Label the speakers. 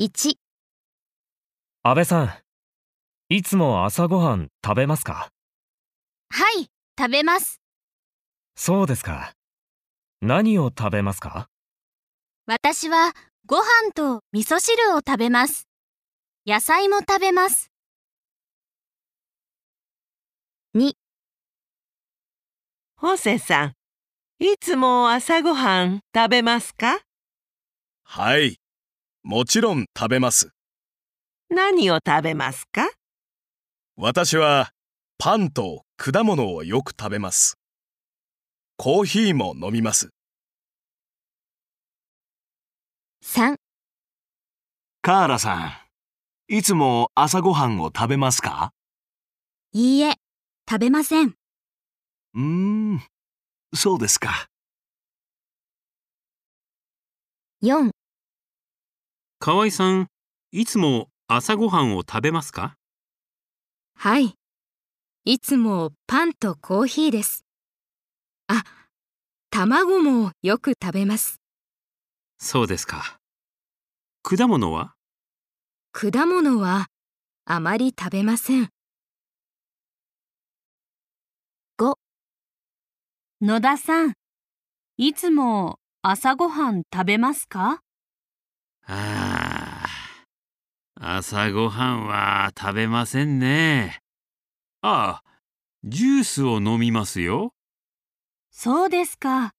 Speaker 1: 1、
Speaker 2: 安倍さん、いつも朝ごはん食べますか
Speaker 1: はい、食べます。
Speaker 2: そうですか。何を食べますか
Speaker 1: 私はご飯と味噌汁を食べます。野菜も食べます。
Speaker 3: ホセさん、いつも朝ごはん食べますか
Speaker 4: はい。もちろん食べます。
Speaker 3: 何を食べますか
Speaker 4: 私はパンと果物をよく食べます。コーヒーも飲みます。
Speaker 1: 3、
Speaker 5: カーラさん、いつも朝ごはんを食べますか
Speaker 1: いいえ、食べません。
Speaker 5: うーん、そうですか。
Speaker 1: 4、
Speaker 6: 河合さん、いつも朝ごはんを食べますか
Speaker 1: はい。いつもパンとコーヒーです。あ、卵もよく食べます。
Speaker 6: そうですか。果物は
Speaker 1: 果物はあまり食べません。5、野田さん、いつも朝ごはん食べますか
Speaker 6: ああ、朝ごはんは食べませんね。ああ、ジュースを飲みますよ。
Speaker 1: そうですか。